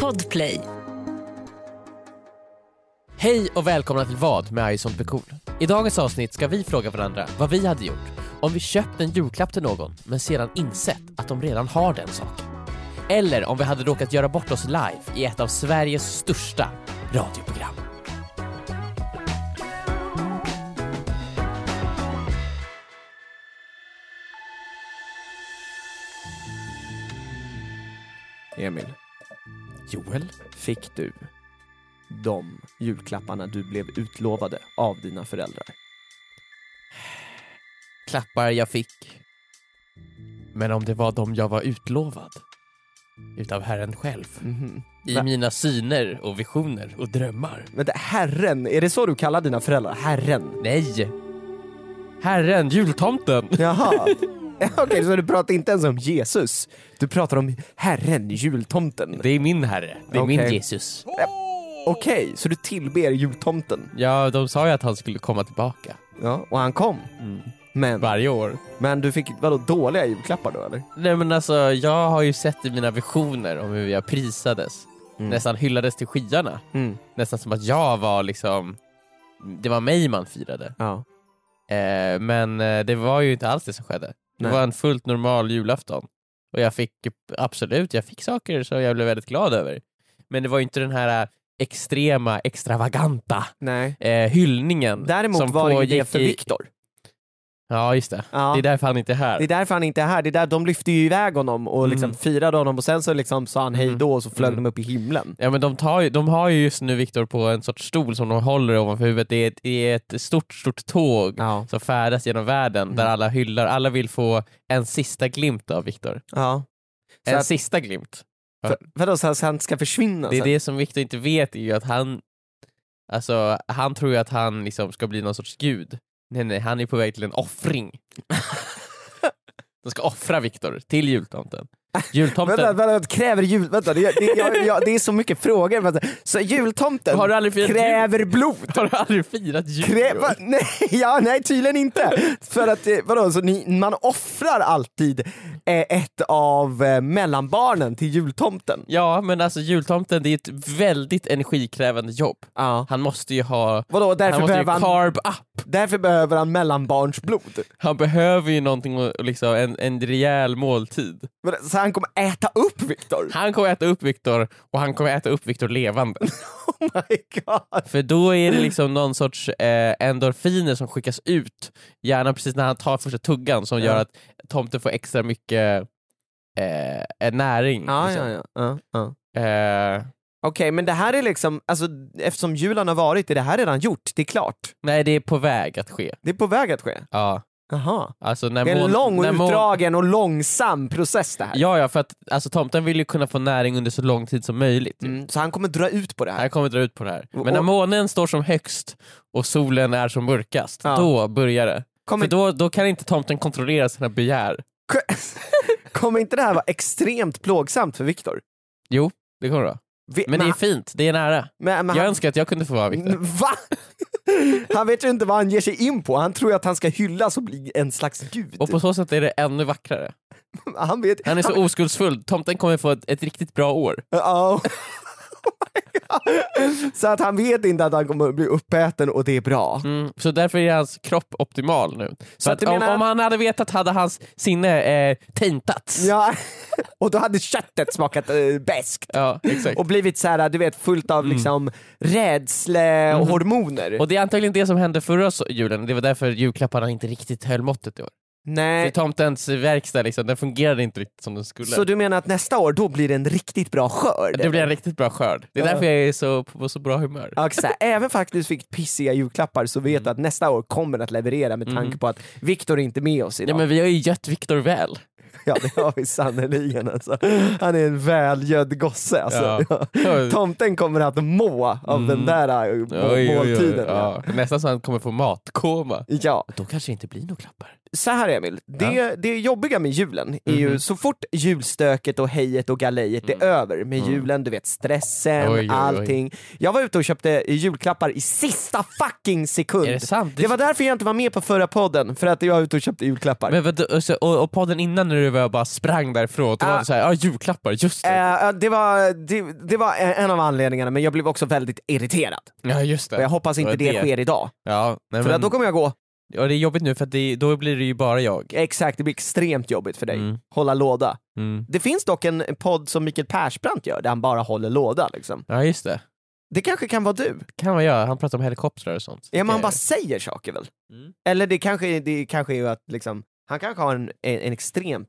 Podplay. Hej och välkomna till Vad med I som blir cool. I dagens avsnitt ska vi fråga varandra vad vi hade gjort om vi köpt en julklapp till någon men sedan insett att de redan har den saken. Eller om vi hade råkat göra bort oss live i ett av Sveriges största radioprogram. Emil, Joel? fick du de julklapparna du blev utlovade av dina föräldrar? Klappar jag fick. Men om det var de jag var utlovad utav Herren själv. I Va- mina syner och visioner och drömmar. Vänta, Herren, är det så du kallar dina föräldrar? Herren? Nej! Herren, jultomten! Jaha. Okej, så du pratar inte ens om Jesus? Du pratar om Herren, jultomten? Det är min herre. Det är min Okej. Jesus. Okej, så du tillber jultomten? Ja, de sa ju att han skulle komma tillbaka. Ja, och han kom. Men, Varje år. men du fick vadå, dåliga julklappar då eller? Nej men alltså, jag har ju sett i mina visioner om hur jag prisades. Nästan hyllades till skyarna. Mm. Nästan som att jag var liksom... Det var mig man firade. Ja. Eh, men eh, det var ju inte alls det som skedde. Det Nej. var en fullt normal julafton. Och jag fick, absolut, jag fick saker som jag blev väldigt glad över. Men det var ju inte den här eh, extrema, extravaganta Nej. eh, hyllningen Däremot som var det ju det pågick för i- Viktor. Ja, just det. Ja. Det är därför han inte är här. Det är därför han inte är här, det är där de lyfte ju iväg honom och liksom Mm. firade honom och sen så liksom sa han hej då och så flög Mm. de upp i himlen. Ja men de, tar ju, de har ju just nu Viktor på en sorts stol som de håller ovanför huvudet. Det är ett, det är ett stort, stort tåg Ja. som färdas genom världen Mm. där alla hyllar, alla vill få en sista glimt av Viktor. ja. Så En att- sista glimt. Ja. För, vadå, så att han ska försvinna? Det är sen? det som Viktor inte vet är ju att han, alltså han tror ju att han liksom ska bli någon sorts gud. Nej nej, han är på väg till en offring. de ska offra Viktor till jultomten. Vänta, Jultomten, vänta, vänta, kräver jul... Vänta, det, det, jag, jag, det är så mycket frågor. Vänta. Så jultomten har du aldrig firat jul? kräver blod? Har du aldrig firat jul? Krä, va, nej, ja, nej, tydligen inte. För att, eh, vadå, så ni, man offrar alltid eh, ett av eh, mellanbarnen till jultomten? Ja, men alltså jultomten det är ett väldigt energikrävande jobb. Ja. Han måste ju ha, Vadå, han därför måste ju behöver han, carb up. därför behöver han mellanbarnsblod? Han behöver ju någonting, att- liksom, en, en rejäl måltid. Vadå, Så han kommer äta upp Viktor? Han kommer äta upp Viktor och han kommer äta upp Viktor levande. Oh my god. För då är det liksom någon sorts eh, endorfiner som skickas ut, gärna precis när han tar första tuggan som Ja. gör att tomten får extra mycket eh, näring. liksom. ja, ja. Eh, Okej, men det här är liksom, alltså, eftersom julen har varit, är det här redan gjort? Det är klart. nej, det är på väg att ske. Det är på väg att ske. Ja. Aha. Alltså, när Det är en mån- lång och när mån- utdragen och långsam process det här. Ja, ja, för att alltså, tomten vill ju kunna få näring under så lång tid som möjligt. ju. Mm, så han kommer dra ut på det här. Han kommer dra ut på det här. Och- Men när månen står som högst och solen är som mörkast, Ja. då börjar det. Kommer, För då, då kan inte tomten kontrollera sina begär. kommer inte det här vara extremt plågsamt för Viktor? Jo, det kommer det vara. Vi- Men det är fint, det är nära. men, men Jag han, Mm. önskar att jag kunde få vara Viktor. Va? Han vet ju inte vad han ger sig in på, han tror ju att han ska hyllas och bli en slags gud. Och på så sätt är det ännu vackrare. Han vet... Han är så oskuldsfull, tomten kommer få ett, ett riktigt bra år. Ja. Så att han vet inte att han kommer bli uppäten och det är bra. Mm. Så därför är hans kropp optimal nu. Så att att du om, menar- om han hade vetat hade hans sinne eh, taintats. Ja. Ja. Och då hade köttet smakat äh, bäst exakt. och blivit så här, du vet, fullt av liksom rädslehormoner. Mm. Och det är antagligen det som hände förra so- julen, det var därför julklapparna inte riktigt höll måttet i år. För Nej. tomtens verkstad liksom, den fungerade inte riktigt som den skulle. Så du menar att nästa år, då blir det en riktigt bra skörd? Det blir en riktigt bra skörd. Det är Ja. därför jag är så, på så bra humör. Ja, exakt. Även fast du fick pissiga julklappar så Mm. vet du att nästa år kommer att leverera med tanke på att Viktor är inte med oss idag. Ja, men vi har ju gött Viktor väl. Ja det har vi sannerligen alltså. Han är en välgödd gosse alltså. Ja. Tomten kommer att må av Mm. den där äh, må- måltiden. Ja. Nästan så han kommer få matkoma. Ja. Då kanske det inte blir några klappar. så här Emil, det, det jobbiga med julen är Mhm. ju så fort julstöket och hejet och galejet är över med julen, du vet stressen, Mm. Oj, oj, oj. allting. Jag var ute och köpte julklappar i sista fucking sekund. Är det sant? Det var därför jag inte var med på förra podden, för att jag var ute och köpte julklappar. Men vadå, och så- och, och podden innan när du var- bara sprang därifrån, då var Ah. det såhär, ja julklappar, just det. Eh, eh, det, var, det, det var en av anledningarna, men jag blev också väldigt irriterad. ja just det. Och jag hoppas inte var det, det. sker idag, Ja, nej, för men, att då kommer jag gå, ja, det är jobbigt nu för att det, då blir det ju bara jag. exakt, det blir extremt jobbigt för dig. Mm. Hålla låda. Mm. Det finns dock en podd som Mikael Persbrandt gör, där han bara håller låda liksom. Ja just det. Det kanske kan vara du? kan man göra, han pratar om helikoptrar och sånt. Ja, men han Det- bara säger saker väl? Mm. Eller det kanske, det kanske är ju att liksom, han kanske har en, en, en extremt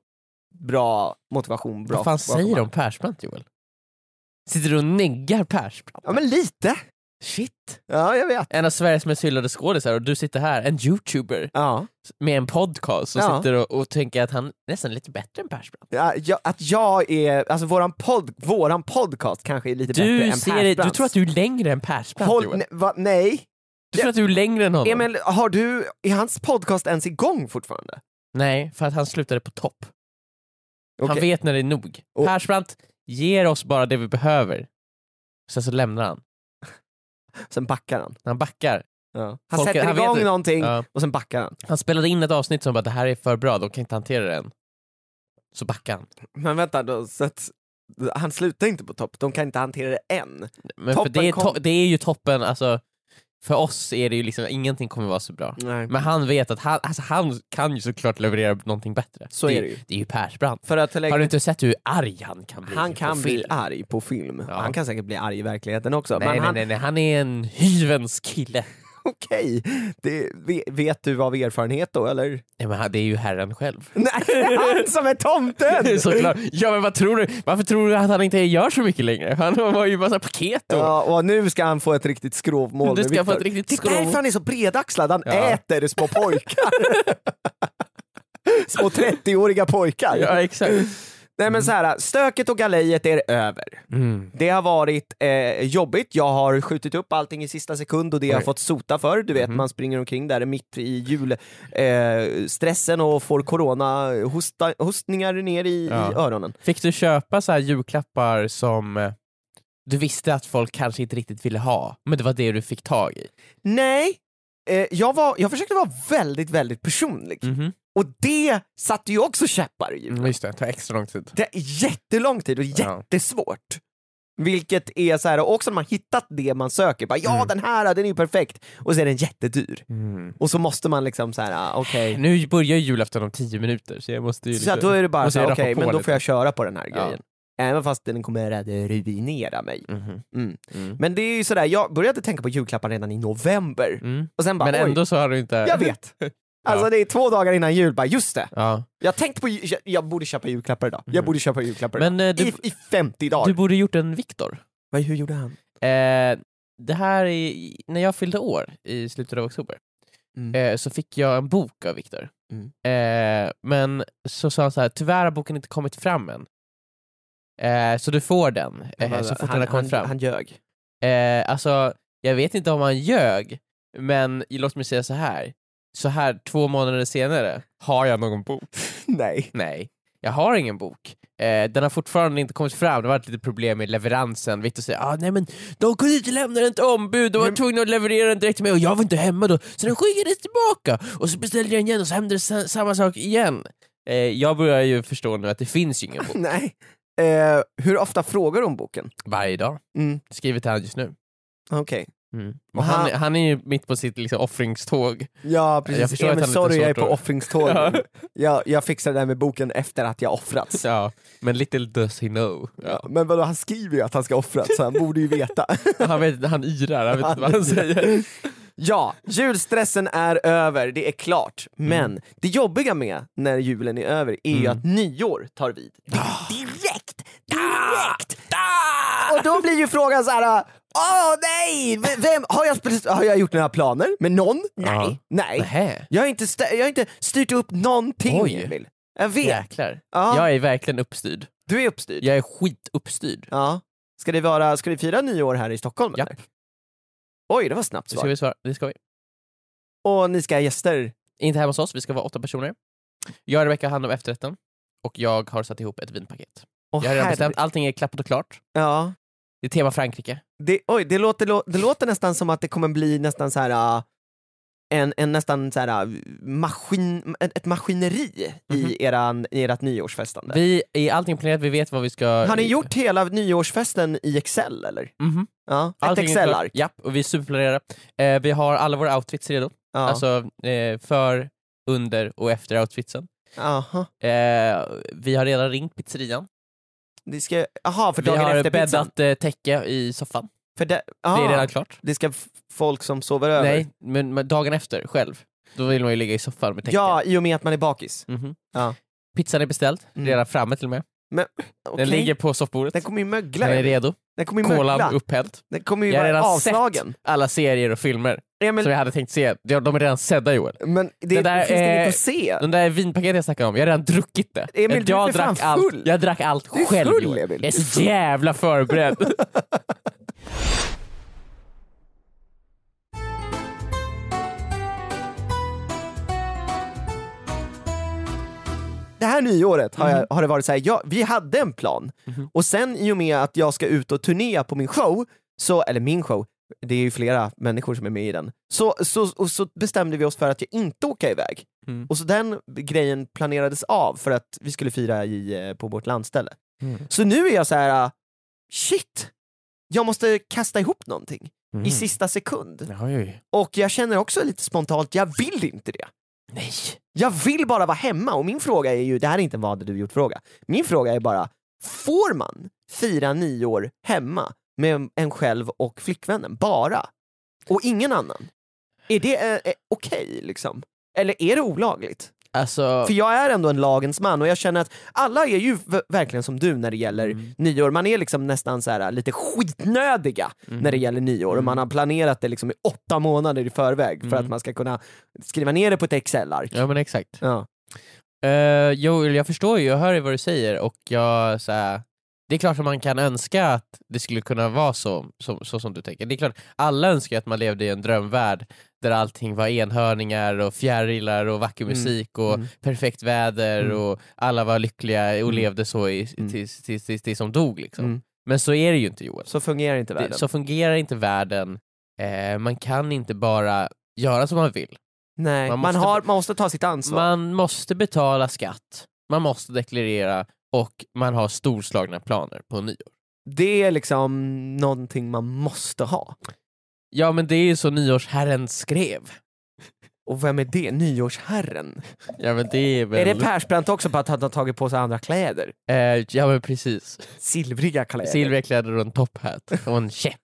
bra motivation. Bra Vad fan bakom säger de allt. om Persbrandt Joel? Sitter du och neggar Persbrandt? Ja men lite! Shit! Ja jag vet. En av Sveriges mest hyllade skådisar och du sitter här, en youtuber Ja. med en podcast och Ja. sitter och, och tänker att han nästan är lite bättre än Persbrandt. Ja, jag, att jag är, alltså våran, podd, våran podcast kanske är lite bättre Du, än ser, du Persbrandts. tror att du är längre än Persbrandt Håll, Joel. ne, va, nej, Du tror att du är längre än honom. Emil, har du, är hans podcast ens igång fortfarande? Nej, för att han slutade på topp. Han Okej. vet när det är nog. Och- Persbrandt ger oss bara det vi behöver. Sen så lämnar han. Sen backar han. Han backar. Han Folk- sätter han vet igång det. någonting Ja. och sen backar han. Han spelade in ett avsnitt som bara det här är för bra, de kan inte hantera det än. Så backade han. Men vänta, då, så att, han slutar inte på topp, de kan inte hantera det än. Men för Toppen det, är kom. to- det är ju toppen, alltså för oss är det ju liksom, ingenting kommer vara så bra. Nej. Men han vet att han, alltså, han kan ju såklart leverera någonting bättre. Så är det ju. Det är ju Persbrandt. För att lägga, Har du inte sett hur arg han kan bli? han på kan bli film? arg på film, Ja. han kan säkert bli arg i verkligheten också. Nej, men nej, han, nej, nej, han är en hyvens kille. okej, det, ve- vet du av erfarenhet då eller? Nej, men han, det är ju herren själv. Nej, han som är tomten! Såklart. Ja men vad tror du? Varför tror du att han inte gör så mycket längre? Han har ju massa paket då. Ja, och nu ska han få ett riktigt skrovmål Du med ska få Viktor. ett riktigt Det är skrovmål. därför han är så bredaxlad, han Ja. äter små pojkar. små 30-åriga pojkar. Ja exakt. Nej men så här, stöket och galejet är över. Mm. Det har varit eh, jobbigt, jag har skjutit upp allting i sista sekund och det har jag Oj. Mhm. fått sota för. Du vet, man springer omkring där mitt i julstressen eh, stressen och får corona hosta, hostningar ner i, Ja. i öronen. Fick du köpa så här julklappar som eh, du visste att folk kanske inte riktigt ville ha, men det var det du fick tag i? Nej, eh, jag, var, jag försökte vara väldigt, väldigt personlig. Mm-hmm. Och det satte ju också käppar i hjulet. just det, tar extra lång tid. Det är jättelång tid och Mm. Ja. jättesvårt. Vilket är så här, och också när man hittat det man söker, bara, ja Mm. den här den är ju perfekt, och så är den jättedyr. Mm. Och så måste man liksom så här, ah, okej. Nu börjar ju julafton om tio minuter så jag måste ju... liksom Så att då är det bara måste så här, jag okej, rappa på men då lite. får jag köra på den här Ja. grejen. Även fast den kommer att ruinera mig. Mhm. Mm. Mm. Men det är ju sådär, jag började tänka på julklappar redan i november, Mm. och sen bara Men oj, ändå så har du inte... jag vet. Alltså det är två dagar innan jul, bara just det. Ja. Jag tänkte på, ju- jag, jag borde köpa julklappar idag, jag Mm. borde köpa julklappar idag. Men eh, du, I, I 50 dagar. du borde gjort en Viktor. Vad, hur gjorde han? Eh, det här är, när jag fyllde år i slutet av oktober Mm. eh, så fick jag en bok av Viktor. Mm. Eh, men så sa han så här, tyvärr har boken inte kommit fram än. Eh, så du får den eh, så fort den har kommit fram. Han ljög. Eh, alltså, jag vet inte om han ljög, men låt mig säga så här. Så här två månader senare, har jag någon bok? Nej. Nej, jag har ingen bok. Eh, den har fortfarande inte kommit fram, det har varit lite problem med leveransen. Viktor säger ah, nej men de kunde inte lämna den till ombud, de var Men- tvungna att leverera den direkt till mig och jag var inte hemma då, så den skickades tillbaka. Och så beställde jag den igen och så hände det sa- samma sak igen. Eh, jag börjar ju förstå nu att det finns ju ingen bok. Nej. Eh, hur ofta frågar du om boken? Varje dag, Mm. skriver till han just nu. Okej. Och han, Han- han är ju mitt på sitt liksom, offringståg. Ja Jag precis, förstår jag att Emil han inte sorry är jag är svårt på att- offringståg. Ja. jag, jag fixar det där med boken efter att jag offrats. Ja, men little does he know. Ja. Ja, Men vadå, han skriver ju att han ska offras så han borde ju veta. Han, vet, han yrar, han vet inte vad han säger. ja, julstressen är över, det är klart. Mm. Men det jobbiga med när julen är över är ju att nyår tar vid. Det Ah. är Direkt! Direkt! Och då blir ju frågan så här. åh nej! v- Vem, har, jag, precis- har jag gjort några planer med någon? Ja. Nej, nej. Nähä, Jag har inte, stä- jag har inte styrt upp någonting Oj. Emil. Jag vet, jäklar. Ja. Jag är verkligen uppstyrd. du är uppstyrd. Jag är skituppstyrd. Ja. Ska det, vara, ska det fira nyår här i Stockholm? Japp. eller? Oj, det var snabbt Det ska svar. vi svara, det ska vi. Och ni ska ha gäster? Inte hemma hos oss, vi ska vara åtta personer. Jag och Rebecca har hand om efterrätten och jag har satt ihop ett vinpaket. Åh, jag har redan herre- bestämt, allting är klappat och klart. Ja. Det är tema Frankrike. Det, oj, det låter, lo- det låter nästan som att det kommer bli nästan så här ah, en, en nästan så här ah, maskin, ett, ett maskineri Mhm. i, eran, i ert nyårsfestande. Vi är allting planerat, vi vet vad vi ska... Har ni gjort hela nyårsfesten i Excel eller? Mhm. Ja, ett Allting är klart. Excel-ark. Japp, och vi är superplanerade. Eh, vi har alla våra outfits redo. Ja. Alltså eh, för, under och efter outfitsen. Aha. Eh, vi har redan ringt pizzerian. Det ska, aha, för vi dagen har efter pizzan. bäddat eh, täcke i soffan. För det, ah, Det är redan klart. det ska f- folk som sover över? Nej, men, men dagen efter själv. Då vill man ju ligga i soffan med täcke. ja, i och med att man är bakis. Mhm. Ja. Pizzan är beställd, Mm. redan framme till och med. Okej. Den ligger på soffbordet. den Den, kommer ju mögla. är Den, redo. kommer ju Kolan mögla. upphälld. Den kommer ju Jag har vara redan sett. avslagen. Alla serier och filmer Ja, men, som jag hade tänkt se, de de är redan sedda Joel. men det, Det där finns det är- inget att se. De där vinpaketen jag snackade om, jag har redan druckit det. Emil, du är jag, för fan drack allt, full. jag drack allt Du är själv full, Joel. Emil. Jag är Du är så full. jävla förberedd. det här nyåret har, jag, har det varit så här, jag, vi hade en plan och sen i och med att jag ska ut och turnera på min show, så, eller min show, det är ju flera människor som är med i den, så, så, och så bestämde vi oss för att jag inte åka iväg. Mm. Och så den grejen planerades av för att vi skulle fira i, eh, på vårt landställe. Så nu är jag så här, ah, shit, jag måste kasta ihop någonting Mm. i sista sekund. Oj, oj. Och jag känner också lite spontant, jag vill inte det. Nej. Jag vill bara vara hemma och min fråga är ju, det här är inte en vad hade du gjort fråga. Min fråga är bara, får man fira nyår hemma med en själv och flickvännen, bara? Och ingen annan? Är det eh, eh, okej liksom? Eller är det olagligt? Alltså, För jag är ändå en lagens man och jag känner att alla är ju v- verkligen som du när det gäller Mm. nyår, man är liksom nästan så här, lite skitnödiga Mm. när det gäller nyår och man har planerat det liksom i åtta månader i förväg för Mm. att man ska kunna skriva ner det på ett Excel-ark. ja men exakt. Ja. Eh, Joel, jag förstår ju, jag hör ju vad du säger och jag så här, det är klart att man kan önska att det skulle kunna vara så, så, så som du tänker. Det är klart, alla önskar ju att man levde i en drömvärld där allting var enhörningar och fjärilar och vacker Mm. musik och Mm. perfekt väder Mm. och alla var lyckliga och Mm. levde så i, Mm. tills, tills, tills, tills de dog. Liksom. Mm. Men så är det ju inte Joel. Så fungerar inte världen. Det, så fungerar inte världen. Eh, man kan inte bara göra som man vill. Nej, man man, måste- har, man måste ta sitt ansvar. Man måste betala skatt, man måste deklarera och man har storslagna planer på nyår. Det är liksom någonting man måste ha. Ja men det är ju så nyårsherren skrev. Och vem är det? Nyårsherren? Ja men det är väl... Är det Persbrandt också på att han har tagit på sig andra kläder? eh, ja men precis. Silvriga kläder? Silvriga kläder och en topphat och en käpp.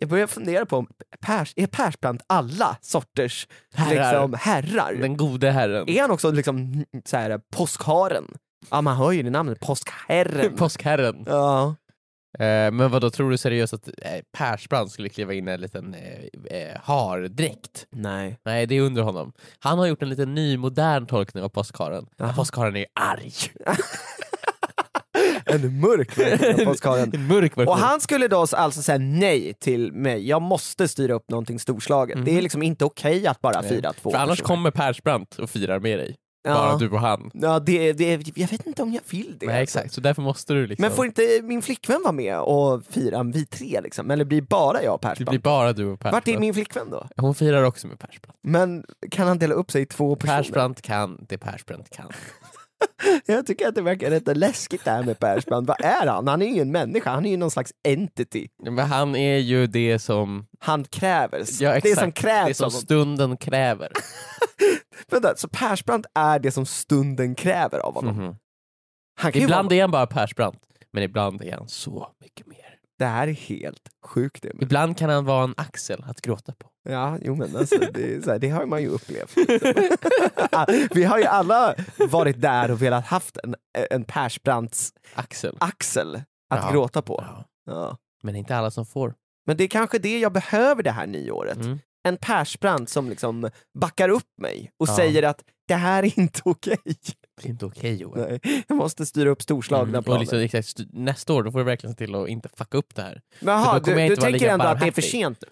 Jag börjar fundera på om Pers, är Persbrandt alla sorters Herrar. liksom, herrar? Den gode herren. Är han också liksom så här, påskharen? Ja man hör ju det namnet, påskherren. Påskherren. ja. Eh, men vad då tror du seriöst att eh, Persbrandt skulle kliva in i en liten eh, eh, hardräkt? Nej. Nej det är under honom. Han har gjort en liten ny modern tolkning av påskharen. Jaha. Påskharen är arg. En mörk version av påskharen. En mörk version. Och han skulle då alltså säga nej till mig, jag måste styra upp någonting storslaget. Mhm. Det är liksom inte okej att bara Nej. fira två För annars personer. kommer Persbrandt och firar med dig. Bara ja. du och han. Ja, det, det, jag vet inte om jag vill det. Nej, exakt. Så därför måste du liksom... Men får inte min flickvän vara med och fira, vi tre liksom? Eller blir bara jag och Det blir Persbrandt? bara du och Persbrandt. Vart är min flickvän då? Hon firar också med Persbrandt. Men kan han dela upp sig i två personer? Persbrandt kan det Persbrandt kan. Jag tycker att det verkar rätt läskigt det här med Persbrandt. Vad är han? Han är ju en människa, han är ju någon slags entity. Men han är ju det som, Han kräver, Ja, det exakt. som det krävs som av honom. stunden kräver. Vänta, så Persbrandt är det som stunden kräver av honom? Mhm. Han kan ju vara Ibland är han bara Persbrandt, men ibland är han så mycket mer. Det här är helt sjukt. Emil. Ibland kan han vara en axel att gråta på. Ja, jo men alltså, det, är så här, det har man ju upplevt. liksom. Vi har ju alla varit där och velat haft en, en Persbrandts Axel. axel att Ja. gråta på. Ja. Ja. Men det är inte alla som får. Men det är kanske det jag behöver det här nyåret. Mm. En Persbrandt som liksom backar upp mig och Ja. säger att det här är inte okej. Det är inte okej Joel. Nej, Jag måste styra upp storslagna Mm. Och planer. liksom, exakt, st- nästa år då får du verkligen se till att inte fucka upp det här. Men jaha, För då kommer jag du, du inte vara tänker lika ändå att det är för barmhärtig. sent nu?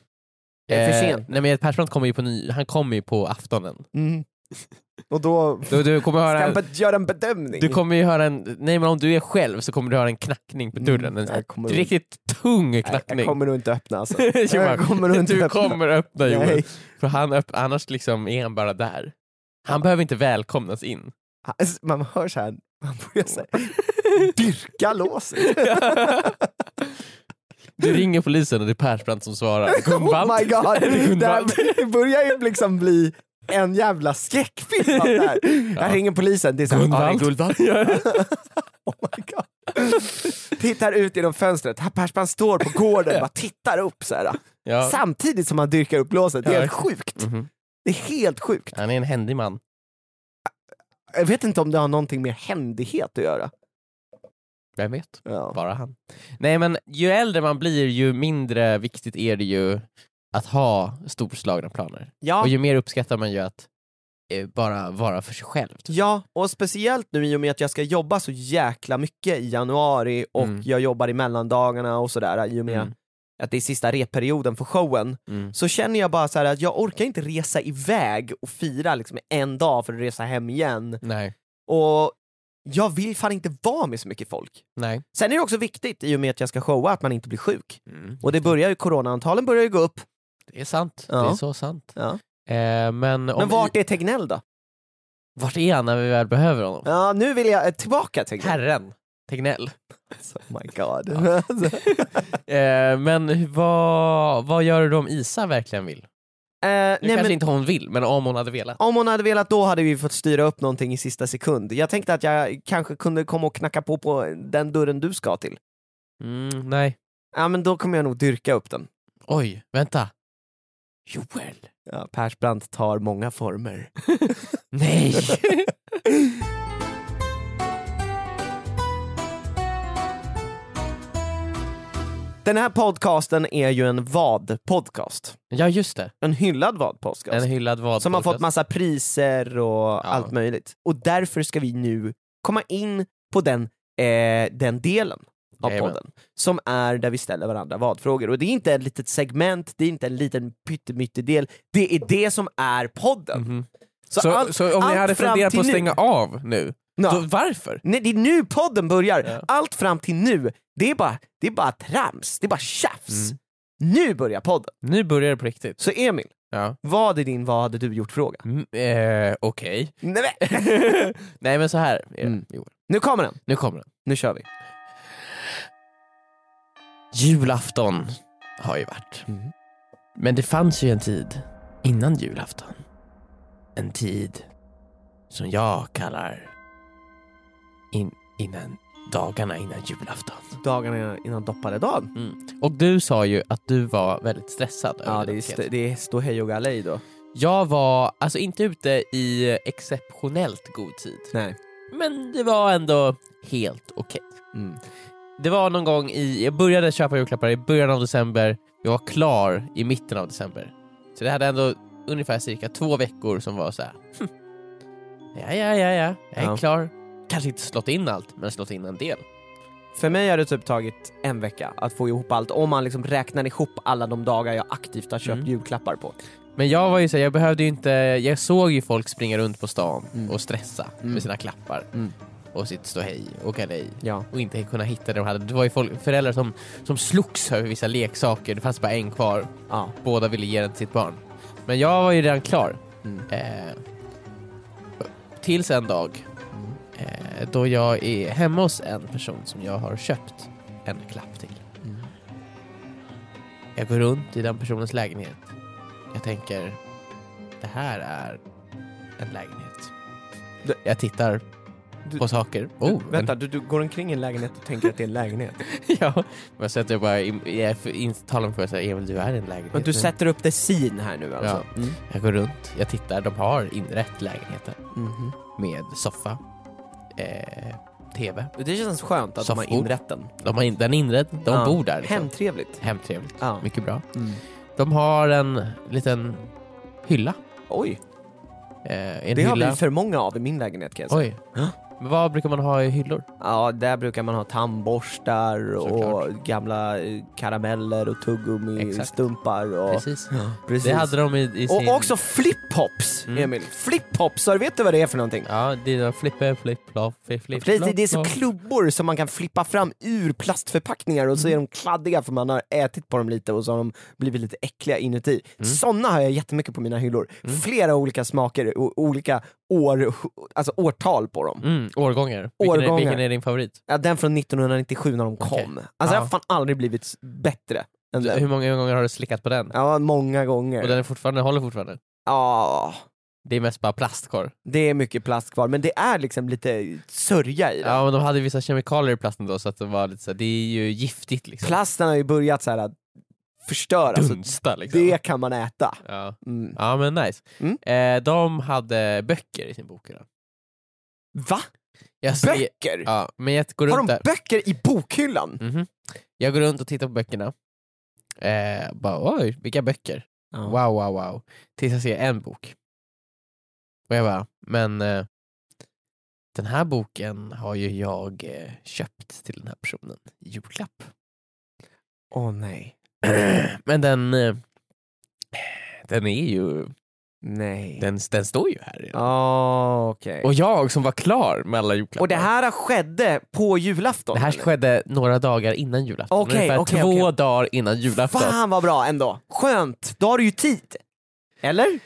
Det är för Eh, sent. nej men Persbrandt kommer ju på, ny, han kommer ju på aftonen. Mm. Och då Du, du kommer ska han höra... be- göra en bedömning. Du kommer ju höra en, nej men om du är själv så kommer du höra en knackning på dörren. En Mm, sån här jag kommer- riktigt tung Nej, knackning. jag kommer nog inte öppna alltså. Johan, jag kommer nog inte du öppna. kommer öppna Johan. Nej. För han öpp, annars liksom är han bara där. Han behöver inte välkomnas in. Alltså, man hör så här, man börjar så här, dyrka låset. Du ringer polisen och det är Persbrandt som svarar. Gunvald? Oh my god, Är det det, här, Gunvald? det börjar ju liksom bli en jävla skräckfilm av det här. Jag ringer polisen, det är såhär, ja, det är Gunvald? guld. Ja. oh my god. Tittar ut genom fönstret, här Persbrandt står på gården och bara tittar upp så här, Ja. samtidigt som han dyrkar upp låset. Det är Ja. helt sjukt. Mhm. Det är helt sjukt. Han är en händig man. Jag vet inte om det har någonting med händighet att göra. Vem vet? Ja. Bara han. Nej men ju äldre man blir ju mindre viktigt är det ju att ha storslagna planer. Ja. Och ju mer uppskattar man ju att eh, bara vara för sig själv. typ. Ja, och speciellt nu i och med att jag ska jobba så jäkla mycket i januari och Mm. jag jobbar i mellandagarna och sådär i och med Mm. att det är sista repperioden för showen, Mm. så känner jag bara så här att jag orkar inte resa iväg och fira liksom en dag för att resa hem igen. Nej. Och jag vill fan inte vara med så mycket folk. Nej. Sen är det också viktigt i och med att jag ska showa att man inte blir sjuk. Och Mm. det börjar ju, coronaantalen börjar ju gå upp. Det är sant. Ja. Det är så sant. Ja. Eh, men om Oh. Men vart är Tegnell då? vart är han när vi väl behöver honom? Ja, nu vill jag eh, tillbaka Tegnell. Herren Tegnell. Alltså, oh my god. Eh, men hu- vad, vad gör du då om Isa verkligen vill? Eh, nej, Nu kanske inte hon vill, men om hon hade velat. Om hon hade velat då hade vi fått styra upp någonting i sista sekund. Jag tänkte att jag kanske kunde komma och knacka på på den dörren du ska till. Mm, nej. Ja men då kommer jag nog dyrka upp den. Oj, vänta. Joel. Ja, Persbrandt tar många former. Nej! Den här podcasten är ju en vad-podcast. ja, just det. En hyllad vad-podcast. En hyllad vad som har fått massa priser och allt möjligt. Och därför ska vi nu komma in på den, eh, den delen av Jajamän. podden. Som är där vi ställer varandra vadfrågor. Och det är inte ett litet segment, det är inte en liten pyttemyttedel. Det är det som är podden. Mhm. Så, Så, allt- så om ni allt hade fram funderat till på att nu- stänga av nu, Ja. då, varför? Nej, det är nu podden börjar. Ja. Allt fram till nu, det är bara, det är bara trams, det är bara tjafs. Nu börjar podden. Nu börjar det på riktigt. Så Emil, Ja. vad är din vad hade du gjort-fråga? Mm, eh, Okej. Nej, men- Nej men så här är det, Mm. Joel. Nu kommer den, Nu kommer den. nu kör vi. Julafton har ju varit. Mm. Men det fanns ju en tid innan julafton. En tid som jag kallar in, innan dagarna innan julafton. Dagarna innan dopparedagen. Och du sa ju att du var väldigt stressad. över Ja, det är, identiteten. st- det är stå hej och galej då. Jag var alltså inte ute i exceptionellt god tid, Nej. men det var ändå helt okej. Mm. Det var någon gång i, jag började köpa julklappar i början av december, jag var klar i mitten av december. Så det hade ändå ungefär cirka två veckor som var så här. Hm. Ja, ja, ja, ja, jag är Ja. klar. Kanske inte slått in allt, men slått in en del. För mig har det typ tagit en vecka att få ihop allt, om man liksom räknar ihop alla de dagar jag aktivt har köpt Mm. julklappar på. Men jag var ju så här, jag behövde ju inte, jag såg ju folk springa runt på stan Mm. och stressa Mm. med sina klappar Mm. och sitt ståhej och galej Ja. och inte kunna hitta det de hade. Det var ju folk, föräldrar som, som slogs över vissa leksaker, det fanns bara en kvar. Ja. Båda ville ge den till sitt barn. Men jag var ju redan klar. Mm. Eh, tills en dag Mm. eh, då jag är hemma hos en person som jag har köpt en klapp till. Mm. Jag går runt i den personens lägenhet. Jag tänker, det här är en lägenhet. Du- Jag tittar Du- på saker. Oh, du, en- vänta, du, du går omkring i en lägenhet och tänker att det är en lägenhet. ja, men så att jag bara im- jag är för- in- talar om för mig såhär, Emil du är i en lägenhet. Men du nu." sätter upp det sin här nu alltså? Mm. Ja. Mm. Jag går runt, jag tittar, de har inrett lägenheten Mhm. med soffa, eh, tv. Det känns skönt att de har Soffbord. inrett den. De har in, den är inredd, de Ja. bor där. Liksom. Hemtrevligt. Hemtrevligt, Ja. mycket bra. Mm. De har en liten hylla. Oj, Eh, en det har hylla. vi för många av i min lägenhet kan jag säga. Oj. Ja. Men vad brukar man ha i hyllor? Alltså. Ja, där brukar man ha tandborstar och Såklart. gamla eh, karameller och Exakt. tuggummi-stumpar. Och, Precis. precis. Det hade de i, i sin... och också flip-hops, Mm. Emil. Flip-hopsar, vet du vad det är för någonting? Ja, det är flipper, flipp, flopp, flipp, flipp, Precis, det- flopp, det är så flopp. klubbor som man kan flippa fram ur plastförpackningar och Mm. så är de kladdiga för man har ätit på dem lite och så har de blivit lite äckliga inuti. Mm. Såna har jag jättemycket på mina hyllor. Flera olika smaker och olika år, alltså årtal på dem. Mm, årgångar. Vilken är, Årgångar. vilken är din favorit? Ja, den från 1997 när de kom. Okej. Alltså jag Ja. har fan aldrig blivit s- bättre än den. Hur många gånger har du slickat på den? Ja, många gånger. Och den är fortfarande, håller fortfarande? Ja, Det är mest bara plastkorv. det är mycket plast kvar men det är liksom lite sörja i den. Ja men de hade ju vissa kemikalier i plasten då så att det var lite så här, det är ju giftigt liksom. Plasten har ju börjat så här att förstöras, så Dunsta liksom. alltså, det kan man äta. Ja. Mm. ja men nice. Mm. Eh, de hade böcker i sin bokhylla. Va? Jag ser- Böcker? Ja, men jag går Har runt de där. böcker i bokhyllan? Mhm. Jag går runt och tittar på böckerna. Eh, bara oj, vilka böcker. Wow, wow, wow. Tills jag ser en bok. Och jag bara, men eh, den här boken har ju jag eh, köpt till den här personen i julklapp. Åh nej. men den, eh, den är ju, Nej. den, den står ju här. redan. Ah, okej. Och jag som var klar med alla julklappar. Och det här skedde på julafton? det här eller? skedde några dagar innan julafton. Okej, ungefär okej, två okej. dagar innan julafton. Fan vad bra ändå. Skönt, då har du ju tid. Eller?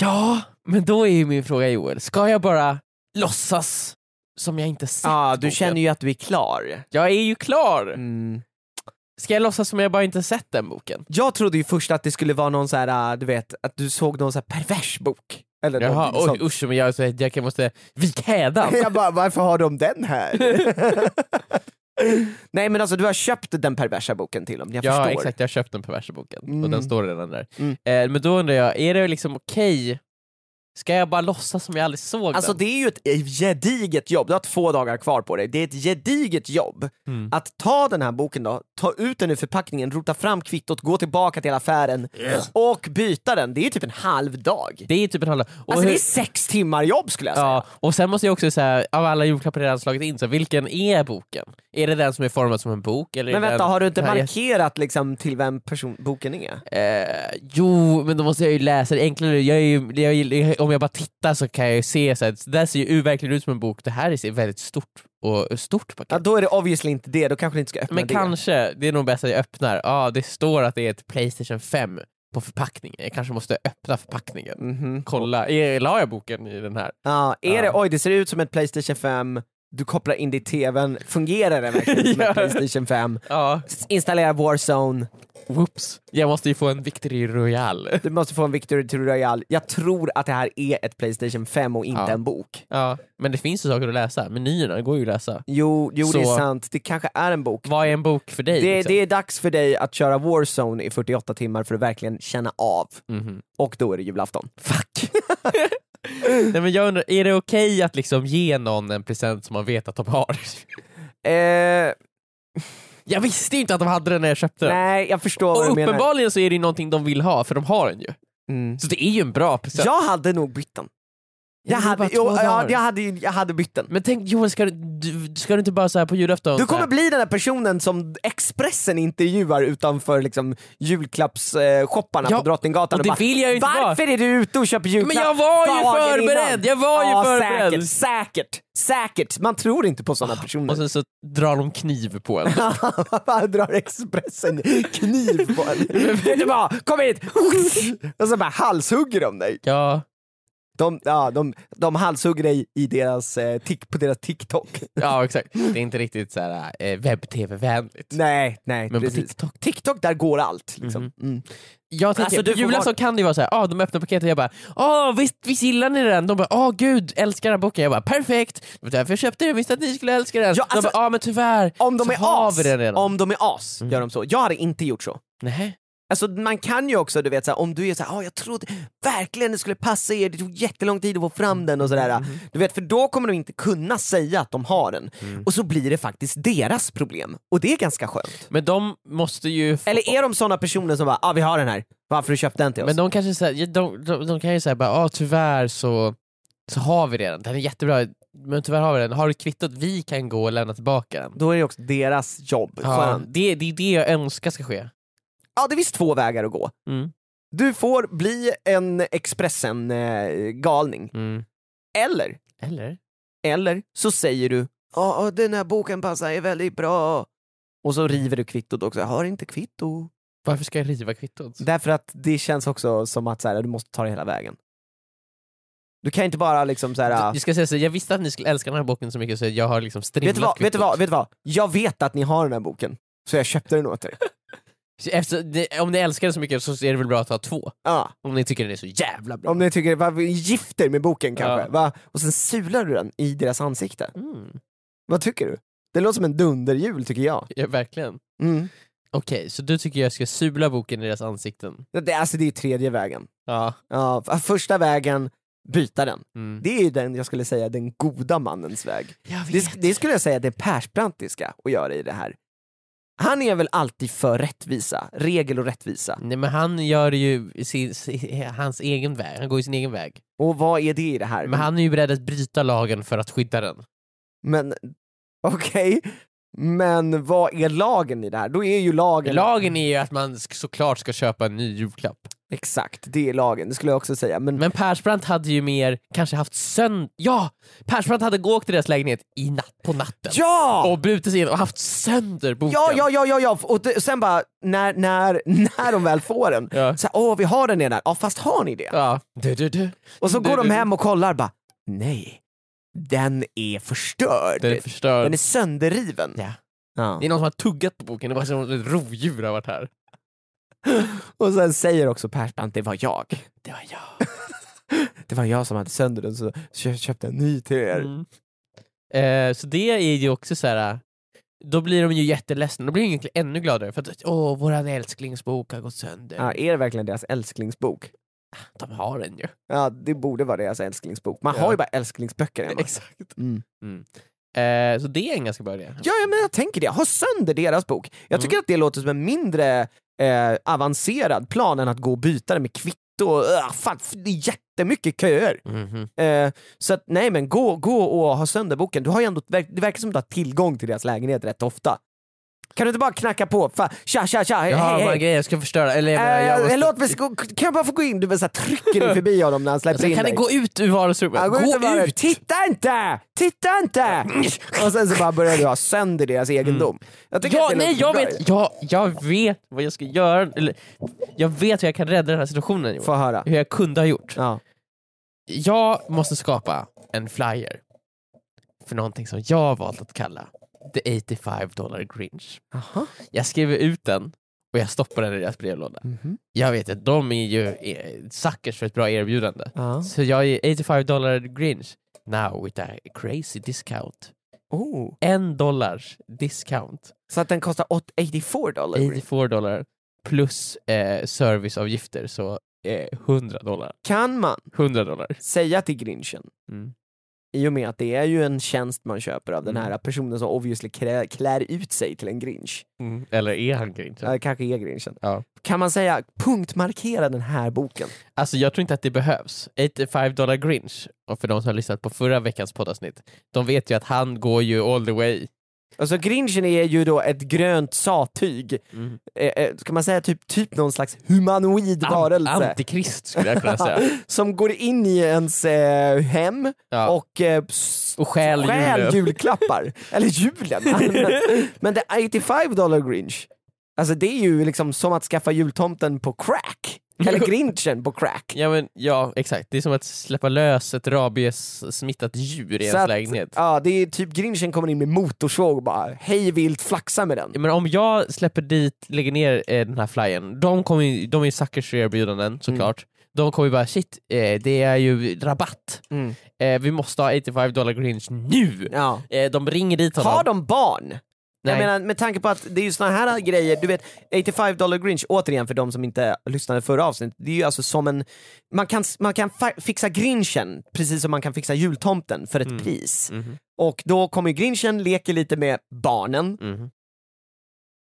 Ja, men då är ju min fråga Joel, ska jag bara låtsas som jag inte sett Ja, du boken? känner ju att du är klar. Jag är ju klar! Mm. Ska jag låtsas som jag bara inte sett den boken? Jag trodde ju först att det skulle vara någon så här, äh, du vet, att du såg någon så här pervers bok. Eller Jaha, någonting oj sånt. usch, men jag, så jag kan- måste vika hädan. Jag bara, varför har de den här? Nej men alltså du har köpt den perversa boken till dem, jag ja förstår. exakt, jag köpte den perversa boken och Mm. den står redan där. Mm. Eh, men då undrar jag, är det liksom okej? Ska jag bara låtsas som jag aldrig såg Alltså den? det är ju ett gediget jobb, du har två dagar kvar på dig. Det är ett gediget jobb Mm. att ta den här boken då, ta ut den ur förpackningen, rota fram kvittot, gå tillbaka till affären och byta den. Det är typ en halv dag. Det är typ en halv... Och, Alltså det hur- är sex timmar jobb skulle jag säga. ja, och sen måste jag också säga, av alla julklappar jag redan slagit in, så vilken är boken? Är det den som är formad som en bok? Eller är Men det vänta, den, har du inte den här- markerat liksom till vem person, boken är? Eh, jo, men då måste jag ju läsa det enklare. Jag är ju, jag, gillar- om jag bara tittar så kan jag ju se, så här, det där ser ju verkligen ut som en bok, det här ser väldigt stort och stort paket. Ja, då är det obviously inte det, då kanske du inte ska öppna men det. kanske, det är nog bäst att jag öppnar, ah, det står att det är ett Playstation 5 på förpackningen, jag kanske måste öppna förpackningen. Mhm. Kolla, är, la jag boken i den här? Ja, är Ja. det, oj det ser ut som ett Playstation 5, du kopplar in det i TVn, fungerar den verkligen som Ja. ett Playstation 5? Ja, S- Installera Warzone, whoops. Jag måste ju få en Victory Royale. du måste få en Victory to Royale. Jag tror att det här är ett Playstation 5 och inte Ja. en bok. Ja, men det finns ju saker att läsa, menyerna går ju att läsa. Jo, jo det är Så- sant, det kanske är en bok. Vad är en bok för dig? Det, liksom? det är dags för dig att köra Warzone i 48 timmar för att verkligen känna av, Mhm. och då är det julafton. Fuck! Nej, men jag undrar, är det okej att liksom ge någon en present som man vet att de har? Eh, Jag visste ju inte att de hade den när jag köpte den. nej, jag förstår vad Och du menar. uppenbarligen så är det ju någonting de vill ha, för de har den ju. Mm. Så det är ju en bra present. Jag hade nog bytt den. Det är Jag hade, bara två jo, ja, dagar. jag hade, jag hade bytt den. Men tänk Joel, ska du, du, ska du inte bara så här på julafton? Du så kommer här, bli den där personen som Expressen intervjuar utanför liksom, julklappsshopparna Ja, på Drottninggatan. och det bara, vill jag ju inte Varför är du ute och köper julklapp Men jag var ju dagen innan?" förberedd! Jag var ju ja, förberedd! Ah, Säkert, säkert, säkert. Man tror inte på sådana personer. Och sen så drar de kniv på en. Varför drar Expressen kniv på en? Vet du vad? Kom hit! Och så bara halshugger de dig. Ja, De, ja, de, de halshugger dig i deras, eh, tick, på deras TikTok. ja exakt. Det är inte riktigt så här eh, webb-tv-vänligt. Nej, nej Men på precis. TikTok. Mhm. TikTok, där går allt. Liksom. Mm. Jag tänker, Alltså, du på får julafton vara- kan det ju vara såhär, ah, de öppnar paketet och jag bara ah, visst, visst gillar ni den? De bara ah, gud, älskar den här boken. Jag bara perfekt, det var därför jag köpte den, jag visste att ni skulle älska den. Ja, de alltså, bara ah, men tyvärr, Om de så är har as, vi den redan. Mhm. om de är as gör de så. Jag hade inte gjort så. Nej. Alltså man kan ju också, du vet såhär, om du är såhär, ah jag trodde verkligen det skulle passa er, det tog jättelång tid att få fram den och sådär. Mhm. Du vet, för då kommer de inte kunna säga att de har den. Mm. Och så blir det faktiskt deras problem. Och det är ganska skönt. Men de måste ju... Få, Eller är de sådana personer som bara, ah vi har den här, varför har du köpt den till oss? men de kanske säger, de, de, de kan ju säga bara ah, tyvärr så, så har vi redan, den är jättebra, Men tyvärr har vi den. Har du kvittot? Vi kan gå och lämna tillbaka den. Då är det också deras jobb. Ja, Skönt. det, det är det jag önskar ska ske. Ja, det är visst två vägar att gå. Mm. Du får bli en Expressen-galning. Mm. Eller, Eller? eller så säger du ja ja, den här boken passar är väldigt bra. Och så river du kvittot också. Jag har inte kvitto. Varför ska jag riva kvittot? Därför att det känns också som att så här, du måste ta det hela vägen. Du kan inte bara liksom så här... Jag ska säga så, jag visste att ni skulle älska den här boken så mycket så jag har liksom strimlat Vet du, vad, vet, du kvittot. vad, vet du vad? Jag vet att ni har den här boken, så jag köpte den åt er. Efter, det- om ni älskar den så mycket så är det väl bra att ha två? Ja. Om ni tycker den är så jävla bra. Om ni tycker, vad gifter med boken kanske? Ja. Va? Och sen sular du den i deras ansikte. Mm. Vad tycker du? Det låter som en dunderjul tycker jag. Ja, verkligen. Mm. Okej, så du tycker jag ska sula boken i deras ansikten? Det, alltså det är tredje vägen. Ja. Ja, f- första vägen, byta den. Mm. Det är ju den, jag skulle säga, den goda mannens väg. Jag vet. Det, sk- det skulle jag säga att det är Persbrandtiska att göra i det här. Han är väl alltid för rättvisa, regel och rättvisa. Nej men han gör ju sin, sin, hans egen väg, han går ju sin egen väg. Och vad är det i det här? Men han är ju beredd att bryta lagen för att skydda den. Men okej, men vad är lagen i det här? Då är ju lagen... Lagen är ju att man sk- såklart ska köpa en ny julklapp. Exakt, det är lagen, det skulle jag också säga. Men, Men Persbrandt hade ju mer kanske haft sönder... Ja! Persbrandt hade gått till deras lägenhet i natt, på natten ja! och brutit sig in och haft sönder boken. ja! Ja, ja, ja, ja, och det- sen bara när, när, när de väl får den, Ja. så här, åh vi har den redan, ja fast har ni det? ja. Du, du, du. Och så Du, går de du. hem och kollar bara, nej, den är förstörd. Den är förstörd. Den är sönderriven. Ja. Ja. Det är någon som har tuggat på boken, det var som ett rovdjur har varit här. Och sen säger också Persbrandt, det var jag. Det var jag. Det var jag som hade sönder den så jag köpte en ny till er. Mm. Eh, så det är ju också så här. eh, då blir de ju jätteledsna, då blir de egentligen ännu gladare för att åh, våran älsklingsbok har gått sönder. Ja, är det verkligen deras älsklingsbok? De har den ju. Ja, det borde vara deras älsklingsbok. Man Ja. har ju bara älsklingsböcker hemma. Exakt. Mm. Eh, så det är en ganska bra idé. Ja, ja, men jag tänker det. Ha sönder deras bok. Mm. Jag tycker att det låter som en mindre eh, avancerad plan än att gå och byta det med kvitto. och, ah, fan, f- det är jättemycket köer. Mhm. Eh, så att, nej men gå, gå och ha sönder boken. Du har ju ändå, verk- det verkar som att du har tillgång till deras lägenhet rätt ofta. Kan du inte bara knacka på? Fa, tja, tja, tja, hej, Jag har hej, några hej. grejer jag ska förstöra, eller jag, menar, jag Eh, måste... Låt mig, gå- kan jag bara få gå in? Du bara så här trycker dig förbi honom när han släpper Alltså, in kan dig. ni gå ut ur vardagsrummet? Ja, gå och bara, ut! Titta inte! Titta inte! Och sen så bara börjar du ha sönder deras egendom. Jag tycker att Mm. Ja, det nej, låter jag bra ju. vet, jag, jag vet vad jag ska göra, eller jag vet hur jag kan rädda den här situationen Johan. Få höra. Hur jag kunde ha gjort. Ja. Jag måste skapa en flyer för någonting som jag har valt att kalla The 85 Dollar Grinch. Aha. Jag skriver ut den och jag stoppar den i deras brevlåda. Jag vet att de är ju eh, suckers för ett bra erbjudande. Ja. Så jag är 85 dollar Grinch now with a crazy discount. Oh. En dollars discount, Så att den kostar 8- 84 dollar? 84 dollar plus eh, serviceavgifter så eh, 100 dollar. Kan man 100 dollar. säga till Grinchen, Mm. i och med att det är ju en tjänst man köper av den Mm. här personen som obviously klär, klär ut sig till en Grinch, Mm. Eller är han Grinch? ja. kanske är Grinchen, Ja. kan man säga punktmarkera den här boken? Alltså jag tror inte att det behövs. 85 dollar Grinch, och för de som har lyssnat på förra veckans poddavsnitt, de vet ju att han går ju all the way. Alltså Grinchen är ju då ett grönt sattyg, eh, eh, ska man säga typ, typ någon slags humanoid Ant- varelse? antikrist skulle jag kunna säga. som går in i ens eh, hem Ja. och, eh, s- Och stjäl julen. julklappar. Eller julen! Men det är 85 dollar grinch, alltså det är ju liksom som att skaffa jultomten på crack. Eller grinchen på crack. Ja, men, ja exakt, det är som att släppa lös ett rabies-smittat djur i Så ens att- lägenhet. Ja, det är typ grinchen kommer in med motorsåg och bara hej vilt flaxa med den. Ja, Men om jag släpper dit, lägger ner eh, den här flyern, de, kommer ju, de är ju suckers för Mm. erbjudanden såklart. De kommer ju bara shit, eh, det är ju rabatt. Mm. Eh, vi måste ha 85 dollar Grinch nu! Ja. Eh, de ringer dit honom. Har de barn? Jag Nej. menar med tanke på att det är ju såna här grejer, du vet 85 dollar grinch, återigen för de som inte lyssnade förra avsnittet, det är ju alltså som en, man kan, man kan fa- fixa grinchen precis som man kan fixa jultomten för ett pris. Mhm. Och då kommer ju grinchen, leker lite med barnen, Mhm.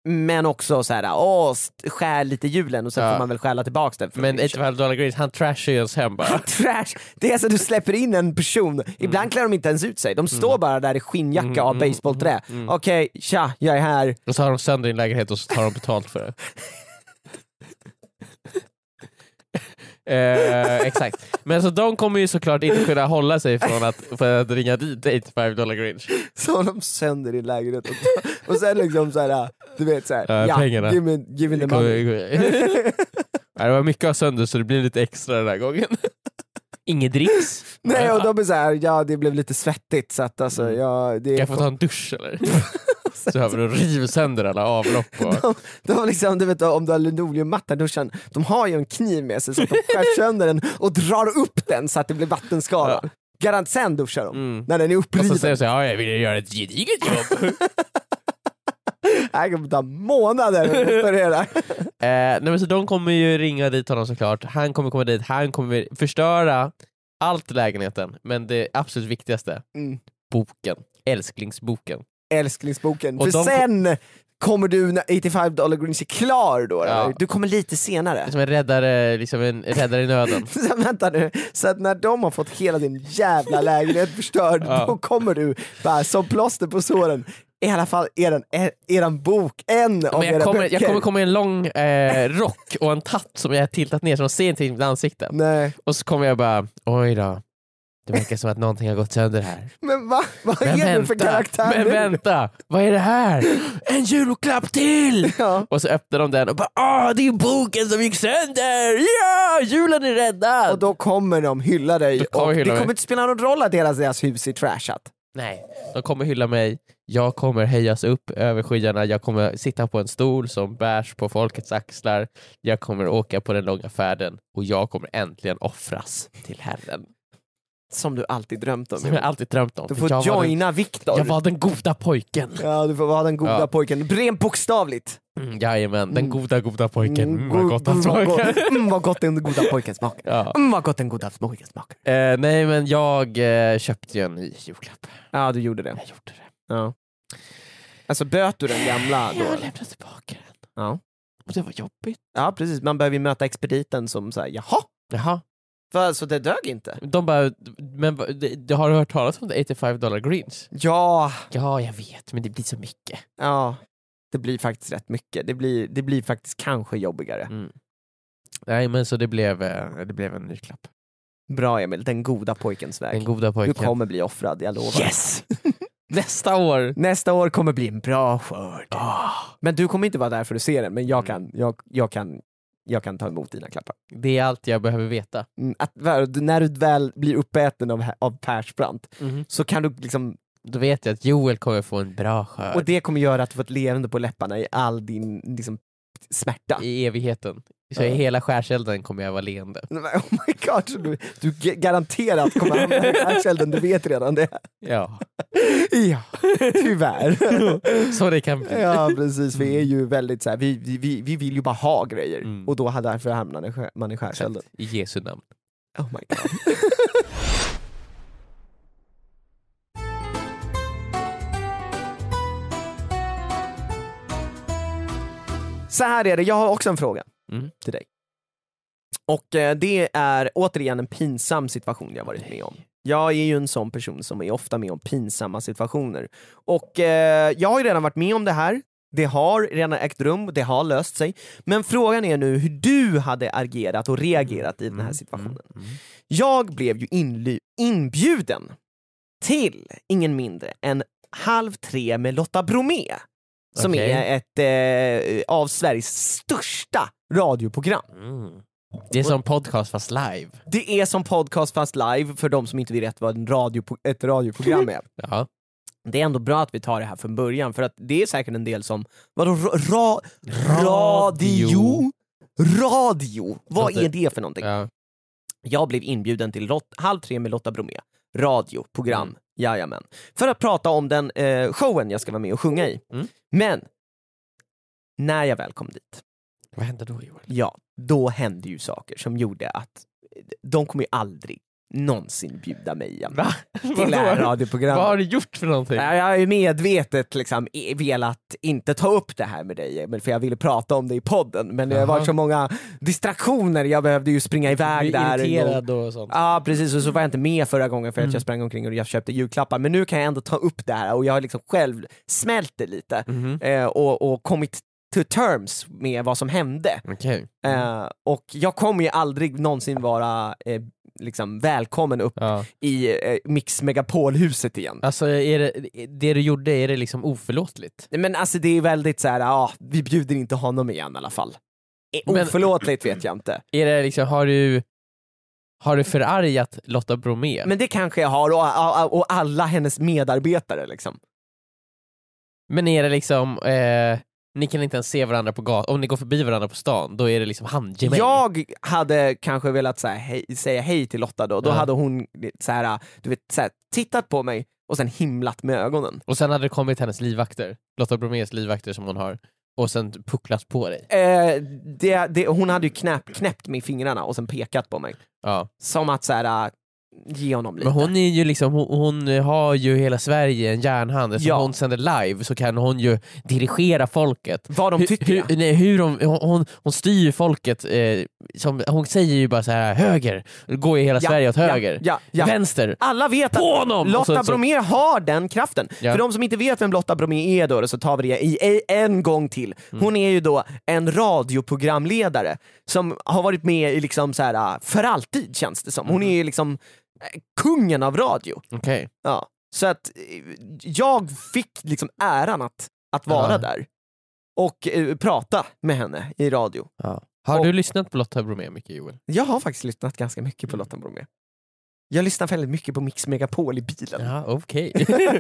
Men också så här, åh, st- skär lite julen och sen Ja. får man väl stjäla tillbaks den. för Men det är 85 dollar Grace, han trashar ju ens hem bara. Trash! Det är så att du släpper in en person, Mm. ibland klär de inte ens ut sig, de står bara där i skinnjacka av basebollträ. mm, Okej, tja, jag är här. Och så har de sönder din lägenhet och så tar de betalt för det. Eh, exakt. Men så de kommer ju såklart inte kunna hålla sig från att, för att ringa dit 85 dollar Grinch. Så har de sönder din lägenhet och, och sen liksom så här, du vet såhär, Ja, ja, pengarna. give me, give me the money. Ja, det var mycket av sönder så det blir lite extra den här gången. Inget dricks? Nej och de är såhär, ja det blev lite svettigt så att alltså, ja, det Kan är Mm. jag få ta en dusch eller? Så har vi då river sönder alla avlopp och... de, de har liksom, du vet om du har linoleummatta i duschen, de har ju en kniv med sig så att de skär sönder den och drar upp den så att det blir vattenskada. Garant sen duschar de, när den är Mm. Och så uppriven. säger de såhär, ja, jag vill göra ett gediget jobb. Det här kommer ta månader att restaurera. Eh, nej men så de kommer ju ringa dit honom såklart, han kommer komma dit, han kommer förstöra allt i lägenheten, men det absolut viktigaste, Mm. boken. Älsklingsboken. Älsklingsboken. Och För de- sen kommer du, när 85 dollar Grinch är klar då, Ja. eller? du kommer lite senare. Som en räddare, liksom en räddare i nöden. Så vänta nu, så att när de har fått hela din jävla lägenhet förstörd, Ja. då kommer du bara som plåster på såren. I alla fall eran, eran bok, en av Men jag, era kommer, böcker. jag kommer komma i en lång eh, rock och en hatt som jag har tiltat ner så de ser inte mitt ansikte. Nej, Och så kommer jag bara, oj då. Det verkar som att någonting har gått sönder här. men va? Vad Men är du för vänta, karaktär men nu? vänta, vad är det här? En julklapp till! Ja. Och så öppnar de den och bara ah det är boken som gick sönder! Ja, julen är räddad! Och då kommer de hylla dig kommer och hylla det mig. kommer inte spela någon roll att hela deras hus är trashat. Nej, de kommer hylla mig, jag kommer höjas upp över skyarna, jag kommer sitta på en stol som bärs på folkets axlar, jag kommer åka på den långa färden och jag kommer äntligen offras till Herren. Som du alltid drömt om. Som jag alltid drömt om. Du för får jag, var den, joina Viktor. jag var den goda pojken. Ja, du får vara den goda Ja. pojken. Rent bokstavligt. Mm, jajamän, den goda goda pojken. Mm, go- vad gott han vad smakar. gott- Mm, vad gott den goda pojken smakar. Ja. Mm, vad gott den goda pojken smakar. Eh, nej men jag eh, köpte ju en ny julklapp. Ja, du gjorde det. Jag gjorde det. Ja. Alltså böt du den gamla Jag har då? lämnat tillbaka den. Ja. Och det var jobbigt. ja, precis. Man behöver ju möta expediten som säger jaha, Jaha. för, så det dög inte? De bara, men vad- det- det- har du hört talas om the 85 dollar greens? Ja, Ja, jag vet, men det blir så mycket. ja. Det blir faktiskt rätt mycket. Det blir, det blir faktiskt kanske jobbigare. Mm. Nej men så det blev, eh, det blev en ny klapp. Bra Emil, den goda pojkens väg. Den goda Du pojken. kommer bli offrad, jag lovar. Yes! Nästa år! Nästa år kommer bli en bra skörd. Ah, Men du kommer inte vara där för att se den, men jag Mm. kan, jag, jag kan, jag kan ta emot dina klappar. det är allt jag behöver veta. Mm, att, väl- när du väl blir uppäten av, av Persbrandt Mhm. så kan du liksom, Då vet jag att Joel kommer få en bra skörd. och det kommer göra att du får ett leende på läpparna i all din liksom, smärta. I evigheten. Så Ja. i hela skärselden kommer jag vara leende. Oh my god, så du, du g- garanterat kommer hamna i skärselden, du vet redan det. Ja, Ja, tyvärr. så det kan bli. Ja precis, vi är ju väldigt så här, vi, vi- vi, vi vill ju bara ha grejer Mm. och då har därför hamnar i skär- man i skärselden. I Jesu namn. Oh my god. Så här är det, jag har också en fråga Mm. till dig. Och eh, det är återigen en pinsam situation jag varit med om. Jag är ju en sån person som är ofta med om pinsamma situationer. Och eh, jag har ju redan varit med om det här, det har redan ägt rum, det har löst sig. Men frågan är nu hur du hade agerat och reagerat i den här situationen. Mm. Mm. Jag blev ju inly- inbjuden till ingen mindre än Halv tre med Lotta Bromé som Okej. är ett eh, av Sveriges största radioprogram. Mm. Det är som podcast fast live. Det är som podcast fast live för de som inte vet vad en radio, ett radioprogram är. Ja. Det är ändå bra att vi tar det här från början för att det är säkert en del som, vadå ra, ra, radio? Radio. Radio? Vad Låter- är det för någonting? Ja. Jag blev inbjuden till Lot- Halv tre med Lotta Bromé, radioprogram, Mm. jajamän. För att prata om den eh, showen jag ska vara med och sjunga i. Mm. Men, när jag väl kom dit, Vad händer då Joel? ja, då hände ju saker som gjorde att de kommer ju aldrig någonsin bjuda mig igen Va? till det här radioprogrammet. Vad har du gjort för någonting? Nej, Jag har ju medvetet liksom i- velat inte ta upp det här med dig, men för jag ville prata om det i podden. Men det har Jaha. varit så många distraktioner, jag behövde ju springa iväg Blir där. en gång. irriterad Mm. och sånt. Ja precis, och så var jag inte med förra gången för att jag sprang omkring och jag köpte julklappar. Men nu kan jag ändå ta upp det här och jag har liksom själv smält det lite Mhm. eh, och, och kommit to terms med vad som hände. Okej. Eh, och jag kommer ju aldrig någonsin vara eh, liksom välkommen upp Ja. i eh, Mix Megapol-huset igen. Alltså är det, det du gjorde, är det liksom oförlåtligt? Nej, Men alltså det är väldigt så här, ah, vi bjuder inte honom igen i alla fall. Eh, Men- Oförlåtligt vet jag inte. Är det liksom, har du, har du förargat Lotta Bromé? Men det kanske jag har och, och, och alla hennes medarbetare liksom. Men är det liksom, eh, ni kan inte ens se varandra på gatan, om ni går förbi varandra på stan, då är det liksom handgemäng? Jag hade kanske velat så här, hej, säga hej till Lotta då, då Ja. hade hon så här, du vet, så här, tittat på mig och sen himlat med ögonen. Och sen hade det kommit hennes livvakter, Lotta Bromés livvakter som hon har, och sen pucklat på dig. Eh, det, det, hon hade ju knäpp, knäppt med fingrarna och sen pekat på mig. Ja. Som att så här, ge honom lite. Men hon är ju liksom, hon, hon har ju hela Sverige i en järnhand, eftersom Ja. hon sänder live så kan hon ju dirigera folket. Vad de Hur, tycker ja. hur, nej, hur de, hon, hon, hon styr ju folket, eh, som, hon säger ju bara så här höger, då går ju hela Ja, Sverige åt ja, höger, ja, ja. vänster, Alla vet att på honom! Och Lotta så- så- Bromé har den kraften. Ja. För de som inte vet vem Lotta Bromé är då, då så tar vi det i i- en gång till. Mm. Hon är ju då en radioprogramledare som har varit med i liksom så här, för alltid känns det som. Hon Mm. är ju liksom eh, kungen av radio. Okej. Ja. Så att eh, jag fick liksom äran att, att vara Ja. där och eh, prata med henne i radio. Ja. Har Och- du lyssnat på Lotta Bromé mycket Joel? Jag har faktiskt lyssnat ganska mycket Mm. på Lotta Bromé. Jag lyssnar väldigt mycket på Mix Megapol i bilen. Ja, okej.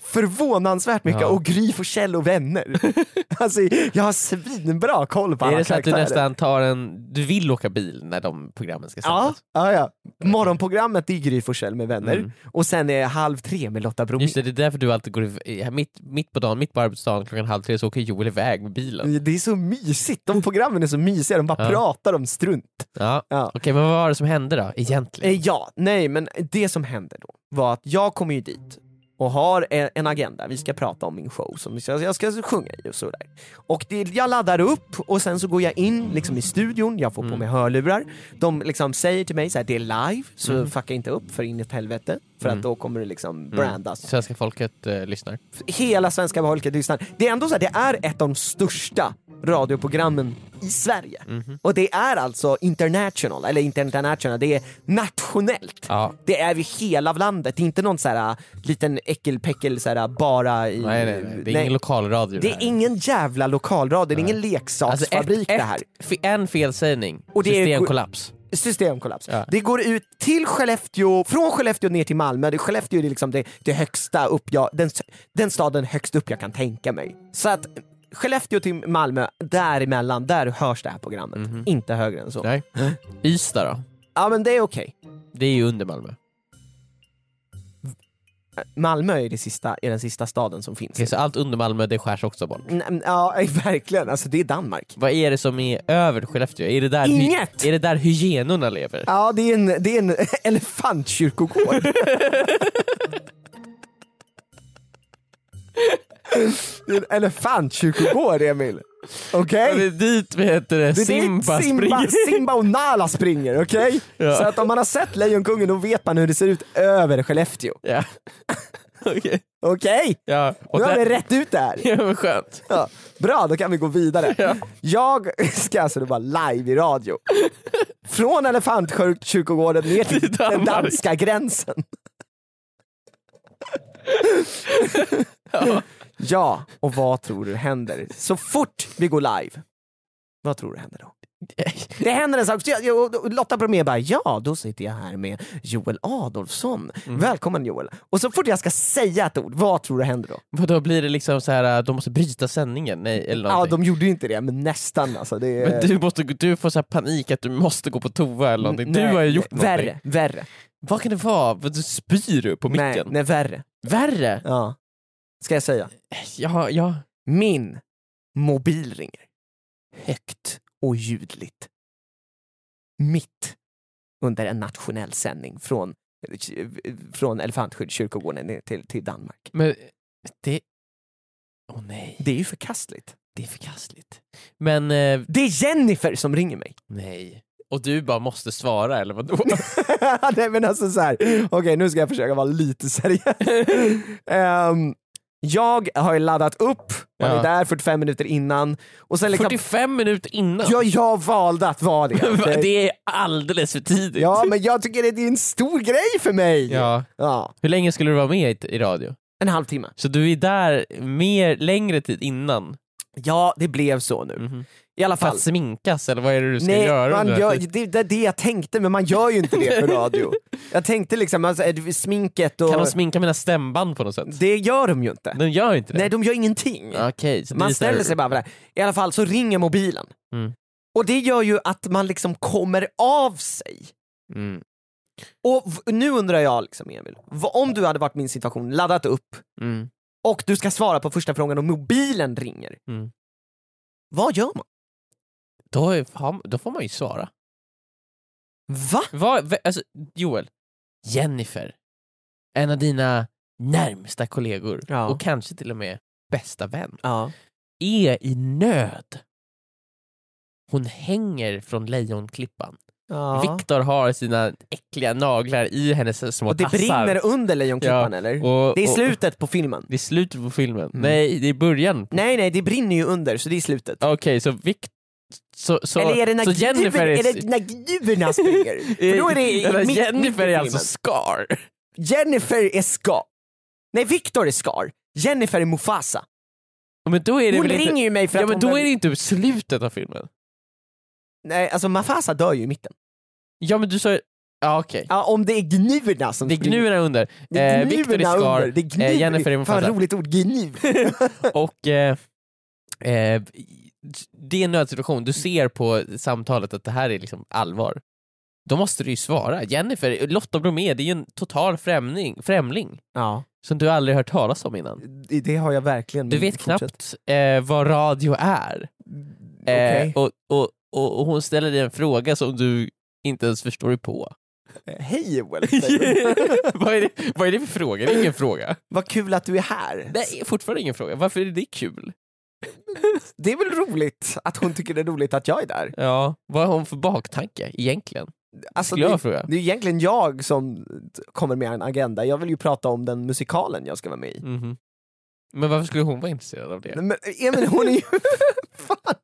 Förvånansvärt mycket, Ja. och Gry Forssell och vänner. alltså, jag har svinbra koll på alla är det så att du karaktärer. nästan tar en, du vill åka bil när de programmen ska Ja, sändas? ja, ja. Morgonprogrammet är Gry Forssell med vänner, Mm. och sen är Halv tre med Lotta Bromé. Just det, det är därför du alltid går i- i- mitt, mitt på dagen, mitt på arbetsdagen klockan halv tre så åker Joel iväg med bilen. Det är så mysigt, de programmen är så mysiga, de bara Ja. pratar om strunt. Ja. Ja. Okej, men vad var det som hände då egentligen? Eh, Ja, nej men det som hände då var att jag kommer ju dit och har en en agenda, vi ska prata om min show som jag jag ska sjunga i och sådär. Och det, jag laddar upp och sen så går jag in liksom i studion, jag får på mig hörlurar. De liksom säger till mig så här, det är live, så fucka inte upp för in i ett helvete. För att då kommer det liksom brandas. Svenska folket eh, lyssnar. Hela svenska folket lyssnar. Det är ändå så här, det är ett av de största radioprogrammen i Sverige. Och det är alltså international, eller inte international, det är nationellt. Ja. Det är ju hela landet, det är inte någon så här äh, liten äckelpäckel så här, äh, bara i... Nej, nej, nej. Det är nej. ingen lokalradio Det här. Alltså, är ingen jävla lokalradio, det är ingen leksaksfabrik ett, det här. Ett, f- en felsägning, Och det är- systemkollaps. Systemkollaps. Ja. Det går ut till Skellefteå, från Skellefteå ner till Malmö. Det, Skellefteå är liksom det, det högsta upp jag, den, den staden högst upp jag kan tänka mig. Så att Skellefteå till Malmö, däremellan, där hörs det här programmet. Mhm. Inte högre än så. Nej. Ystad då? Ja men det är okej. Det är ju under Malmö. Malmö är, det sista, är den sista staden som finns. Okej, så allt under Malmö det skärs också bort. Nej, Ja, verkligen. Alltså det är Danmark. Vad är det som är över Skellefteå? Är det där, hy- Inget! är det där hyenorna lever? Ja, det är en, det är en elefantkyrkogård. det är en elefantkyrkogård, Emil. Okej? Det är dit vi heter det, Det är dit Simba, Simba, springer. Simba och Nala springer, okej? Ja. Så att om man har sett Lejonkungen då vet man hur det ser ut över Skellefteå. Ja. Okej. Okej? Ja. Och Nu har vi där... rätt ut det här. Ja men skönt. Ja, bra, då kan vi gå vidare. Ja. Jag ska alltså då vara live i radio. Från Elefantkyrkogården ner till Till den Danmark. danska gränsen. Ja, och vad tror du händer? Så fort vi går live, vad tror du händer då? Det händer en sak. Så jag- jag- och Lotta Bromé bara, ja då sitter jag här med Joel Adolfsson. Mm. Välkommen Joel. Och så fort jag ska säga ett ord, vad tror du händer då? Vadå blir det liksom så här de måste bryta sändningen? Nej, eller Ja, någonting. de gjorde ju inte det, men nästan alltså. Det är... Men du, måste, du får så här panik att du måste gå på toa eller någonting. Nej, du har ju gjort någonting. Värre, värre. Vad kan det vara? Vad Du spyr du på Nej, micken? nej, värre. Värre? Ja. Ska jag säga? Ja, ja. Min mobil ringer. Högt och ljudligt. Mitt under en nationell sändning från, från Elefantskyddskyrkogården ner till, till Danmark. Men det... Åh nej, Det är ju förkastligt. det är förkastligt. Men eh, Det är Jennifer som ringer mig. nej. Och du bara måste svara eller vadå? Liksom- Nej men alltså så här. okej nu ska jag försöka vara lite seriös. Ehm, jag har ju laddat upp, man Ja. är där 45 minuter innan. Och sen liksom, 45 minuter innan? ja, jag valde att vara det. Okej? Det är alldeles för tidigt. Ja men jag tycker det är en stor grej för mig. Ja. Ja. Hur länge skulle du vara med i, i radio? En halvtimme. Så du är där mer, längre tid innan? Ja det blev så nu. Mhm. I alla För fall. att sminkas eller vad är det du ska Nej, göra? man under den gör, tiden? det det är det jag tänkte men man gör ju inte det för radio. jag tänkte liksom, alltså, är det sminket och... Kan de sminka mina stämband på något sätt? det gör de ju inte. De gör inte det? Nej de gör ingenting. Okej, så det är Man så här- ställer sig bara för det. här. I alla fall så ringer mobilen. Mm. Och det gör ju att man liksom kommer av sig. Mm. Och v- nu undrar jag liksom Emil, v- om du hade varit min situation, laddat upp Mm. och du ska svara på första frågan och mobilen ringer. Mm. Vad gör man? Då, är, fan- då får man ju svara. Va? Vad, vä- alltså, Joel, Jennifer, en av dina närmsta kollegor Ja. och kanske till och med bästa vän, är i nöd. Hon hänger från lejonklippan. Ja. Viktor har sina äckliga naglar i hennes små Och det tassar. brinner under Lejonklippan eller? Och, det är och- slutet på filmen. Det är slutet på filmen. Mm. Nej, det är början. Nej nej, det brinner ju under så det är slutet. Okej, så Vic... Så, så, eller är det när så Jennifer är... gnuven- är det när gnuvorna springer? För då är det i- Eller mitt- mitt i Jennifer är filmen. alltså Scar. Jennifer är Scar. Nej, Victor är Scar. Jennifer är Mufasa. Men då är det Hon väl ringer inte... ju mig för att Ja men hon då behöver- är det inte slutet av filmen. Nej, alltså Mufasa dör ju i mitten. Ja men du sa... Ja okej. Ja, om det är gnuerna som Det är springer. gnuerna under. Det är Eh, Victor är gnuerna Scar, under. Det är gnu... eh, Jennifer är Mufasa. Fan, roligt ord, gnu. Och eh, eh, det är en nödsituation, du ser på samtalet att det här är liksom allvar. Då måste du ju svara. Jennifer, Lotta Bromé, det är ju en total främling, främling ja, som du aldrig hört talas om innan. det- det har jag verkligen. Du men vet Mm, fortsätt. knappt eh, vad radio är. Eh, Okej. och, och, och, och hon ställer dig en fråga som du inte ens förstår dig på. Eh, Hej Joel, säger hon. vad, är det, vad är det för fråga? Det är ingen fråga. Vad kul att du är här. Det är fortfarande ingen fråga. Varför är det kul? Det är väl roligt att hon tycker det är roligt att jag är där. Ja, vad har hon för baktanke egentligen? Alltså, Skulle jag det, fråga. det är egentligen jag som kommer med en agenda. Jag vill ju prata om den musikalen jag ska vara med i. Mhm. Men varför skulle hon vara intresserad av det? Nej, Men Emil hon är ju fan,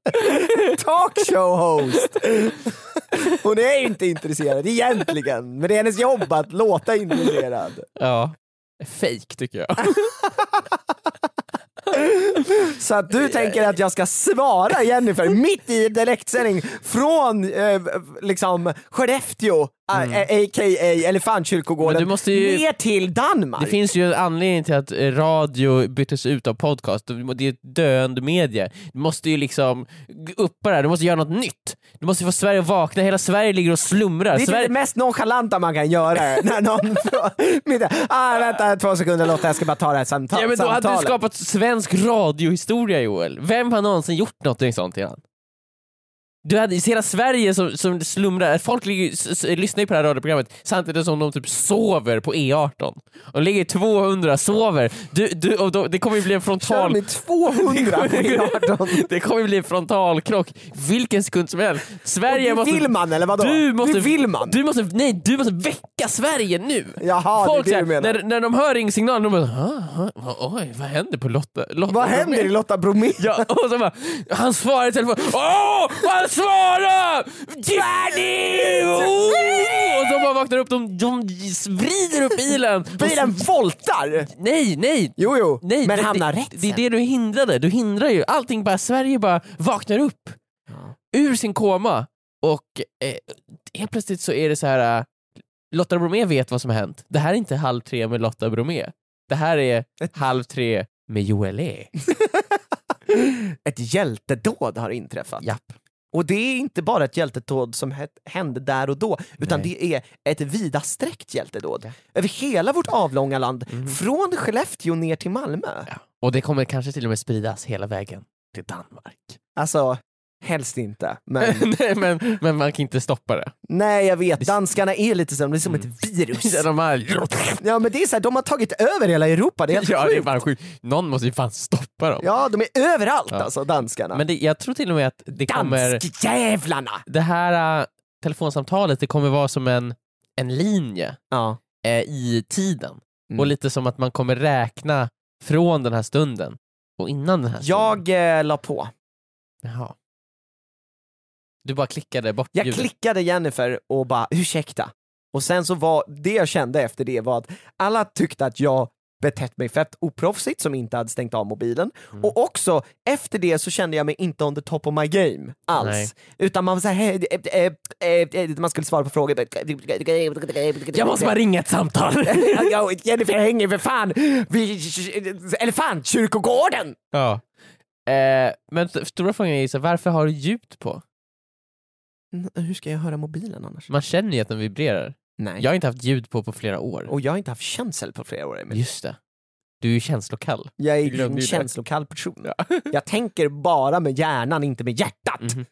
talkshow host. Hon är ju inte intresserad egentligen, men det är hennes jobb att låta intresserad. Ja. Fake tycker jag. Så att du tänker att jag ska svara Jennifer mitt i en direktsändning från eh, liksom Skellefteå, a- a- a.k.a. Mm. Men Elefantkyrkogården, du måste ju- ner till Danmark. Det finns ju en anledning till att eh, radio byttes ut av podcast. Det är ett döende medie. Du måste ju liksom g- uppa det här. Du måste göra något nytt. Du måste få Sverige att vakna. Hela Sverige ligger och slumrar. Det är typ Sverige... det mest nonchalanta man kan göra när någon frågar ah, vänta två sekunder Lotta jag ska bara ta det här samtal- Ja, men då samtalet. hade du skapat svensk radiohistoria Joel. Vem har någonsin gjort något sånt innan? Du hade hela Sverige som, som slumrar, folk ligger, ju- s, s, lyssnar ju på det här radioprogrammet samtidigt som de typ sover på E18. Och ligger 200, sover. Du, du, och då, det kommer ju bli en Kör frontal... med 200 på E E18. det kommer ju bli en frontalkrock vilken sekund som helst. Sverige Det måste... vill man eller vadå? Du måste, det vill man. Du måste, nej, du måste väcka Sverige nu! Jaha, Folk det är det såhär, du menar. när, när de hör ringsignalen, de bara "Ah, ah, oj, vad händer på Lotta? Lotta Vad händer i Lotta Bromé? Ja, och så bara, han svarar i telefon. Åh, han svarar! Jenny! Oh! Och de bara vaknar upp, de, de vrider upp bilen. Bilen voltar! Nej, nej! Jo, jo, Nej, men det- hamnar det, rätt Det är sen. det du hindrade, du hindrar ju allting bara, Sverige bara vaknar upp ur sin koma och eh, helt plötsligt så är det så här eh, Lotta Bromé vet vad som har hänt. Det här är inte Halv tre med Lotta Bromé. Det här är Halv tre med Joel E. Ett hjältedåd har inträffat. Japp. Och det är inte bara ett hjältedåd som hä- hände där och då, utan Nej. det är ett vidasträckt hjältedåd. Ja. Över hela vårt avlånga land, Mhm. från Skellefteå ner till Malmö. Ja. Och det kommer kanske till och med spridas hela vägen till Danmark. Alltså, Helst inte. Men Nej, men, men man kan inte stoppa det. nej, jag vet. Danskarna är lite som, det är som ett virus. Mm. De här, Ja, men det är så här, de har tagit över hela Europa. Det är helt ja, det är sjukt. fan sjukt. Någon måste ju fan stoppa dem. Ja, de är överallt alltså, danskarna. Men det, jag tror till och med att det kommer... Danskjävlarna! Det här äh, telefonsamtalet det kommer vara som en, en linje Ja. eh, i tiden. Mm. Och lite som att man kommer räkna från den här stunden och innan den här stunden. Jag eh, la på. Jaha. Du bara klickade bort Jag ljudet. klickade Jennifer och bara ursäkta. Och sen så var det jag kände efter det var att alla tyckte att jag betett mig fett oproffsigt som inte hade stängt av mobilen. Mm. Och också efter det så kände jag mig inte on the top of my game alls. Nej. Utan man var såhär, "Hej, eh, eh, eh, eh", man skulle svara på frågor. Jag måste bara ringa ett samtal! Jag och Jennifer hänger för fan vid elefantkyrkogården! ja. eh, men st- stora frågan är ju så här, varför har du ljud på? Mm, Hur ska jag höra mobilen annars? Man känner ju att den vibrerar. Nej. Jag har inte haft ljud på på flera år. Och jag har inte haft känsel på flera år. Emil. Just det. Du är ju känslokall. Jag är Jag glömde ju en ju det. känslokall person. Jag tänker bara med hjärnan, inte med hjärtat. Mhm.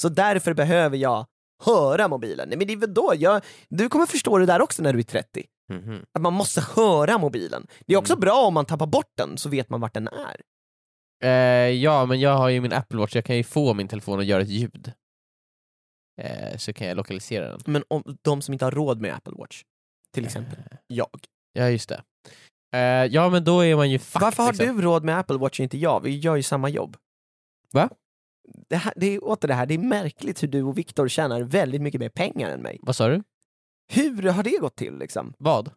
Så därför behöver jag höra mobilen. Nej, men det är väl då jag, du kommer förstå det där också när du är 30. Mhm. Att man måste höra mobilen. Det är också Mm. bra om man tappar bort den så vet man vart den är. Eh, ja, men jag har ju min Apple Watch, jag kan ju få min telefon att göra ett ljud. Eh, så kan jag lokalisera den. Men om de som inte har råd med Apple Watch, till exempel Eh, jag. ja, just det. Eh, ja, men då är man ju fucked. Varför har liksom. du råd med Apple Watch och inte jag? Vi gör ju samma jobb. Va? Det, här, det är åter det här, det är märkligt hur du och Viktor tjänar väldigt mycket mer pengar än mig. Vad sa du? Hur har det gått till liksom? Vad?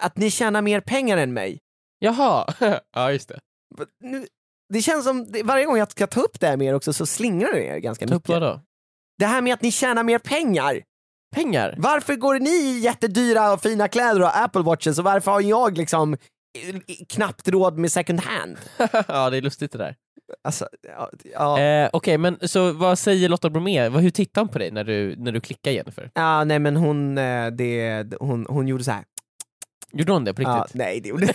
Att ni tjänar mer pengar än mig? Jaha! ja, just det. But Nu, det känns som, det- varje gång jag ska ta upp det här med er också så slingrar ni er ganska Ta upp mycket. vadå? Det här med att ni tjänar mer pengar! Pengar? Varför går ni i jättedyra och fina kläder och Apple Watches och varför har jag liksom eh, knappt råd med second hand? ja, det är lustigt det där. Alltså, ja, ja. Eh, Okej, men så vad säger Lotta Bromé? Vad- Hur tittar hon på dig när du, när du klickar Jennifer? Ja, nej men hon, eh, det, hon, hon gjorde så här. Gjorde hon det på Ja, riktigt? nej det gjorde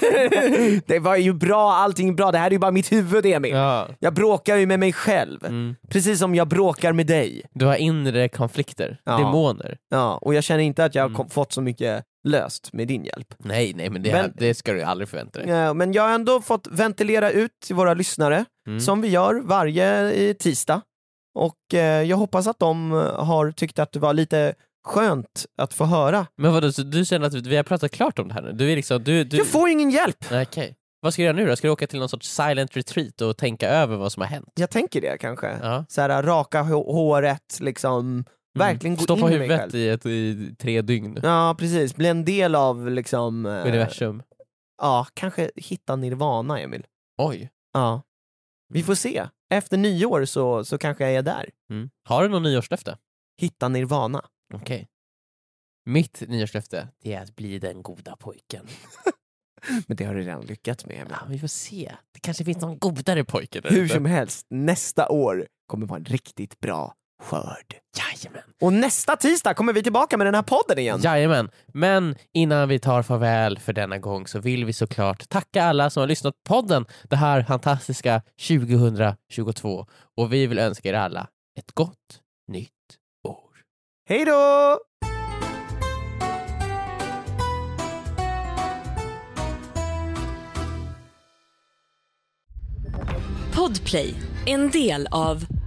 Det var ju bra, allting är bra, det här är ju bara mitt huvud Emil. Ja. Jag bråkar ju med mig själv, Mm. precis som jag bråkar med dig. Du har inre konflikter, Ja. demoner. Ja, och jag känner inte att jag har Mm. kom- fått så mycket löst med din hjälp. Nej, nej, men det, Men- det ska du aldrig förvänta dig. Ja, Men jag har ändå fått ventilera ut till våra lyssnare, Mm. som vi gör varje eh, tisdag. Och eh, jag hoppas att de eh, har tyckt att det var lite skönt att få höra. Men vadå, så du känner att vi har pratat klart om det här nu? Du är liksom, du... du... Jag får ingen hjälp! Nej, okej. Vad ska du göra nu då? Ska du åka till någon sorts silent retreat och tänka över vad som har hänt? Jag tänker det kanske. Ja. Så här, raka hå- håret, liksom. Verkligen gå Mm. Stå in på i mig huvudet själv. i, ett, i tre dygn. Ja precis, bli en del av liksom... eh, Universum. Ja, kanske hitta nirvana Emil. Oj. Ja. Vi får se. Efter nyår så, så kanske jag är där. Mm. Har du någon nyårslöfte? Hitta nirvana. Okej. Mitt nyårslöfte, det är att bli den goda pojken. Men det har du redan lyckats med Emil. Ja, vi får se. Det kanske finns någon godare pojke där Hur ute. som helst, nästa år kommer vara en riktigt bra skörd. Jajamän. Och nästa tisdag kommer vi tillbaka med den här podden igen. Jajamän. Men innan vi tar farväl för denna gång så vill vi såklart tacka alla som har lyssnat på podden det här fantastiska 2022 och vi vill önska er alla ett gott nytt år. Hej då! Podplay, en del av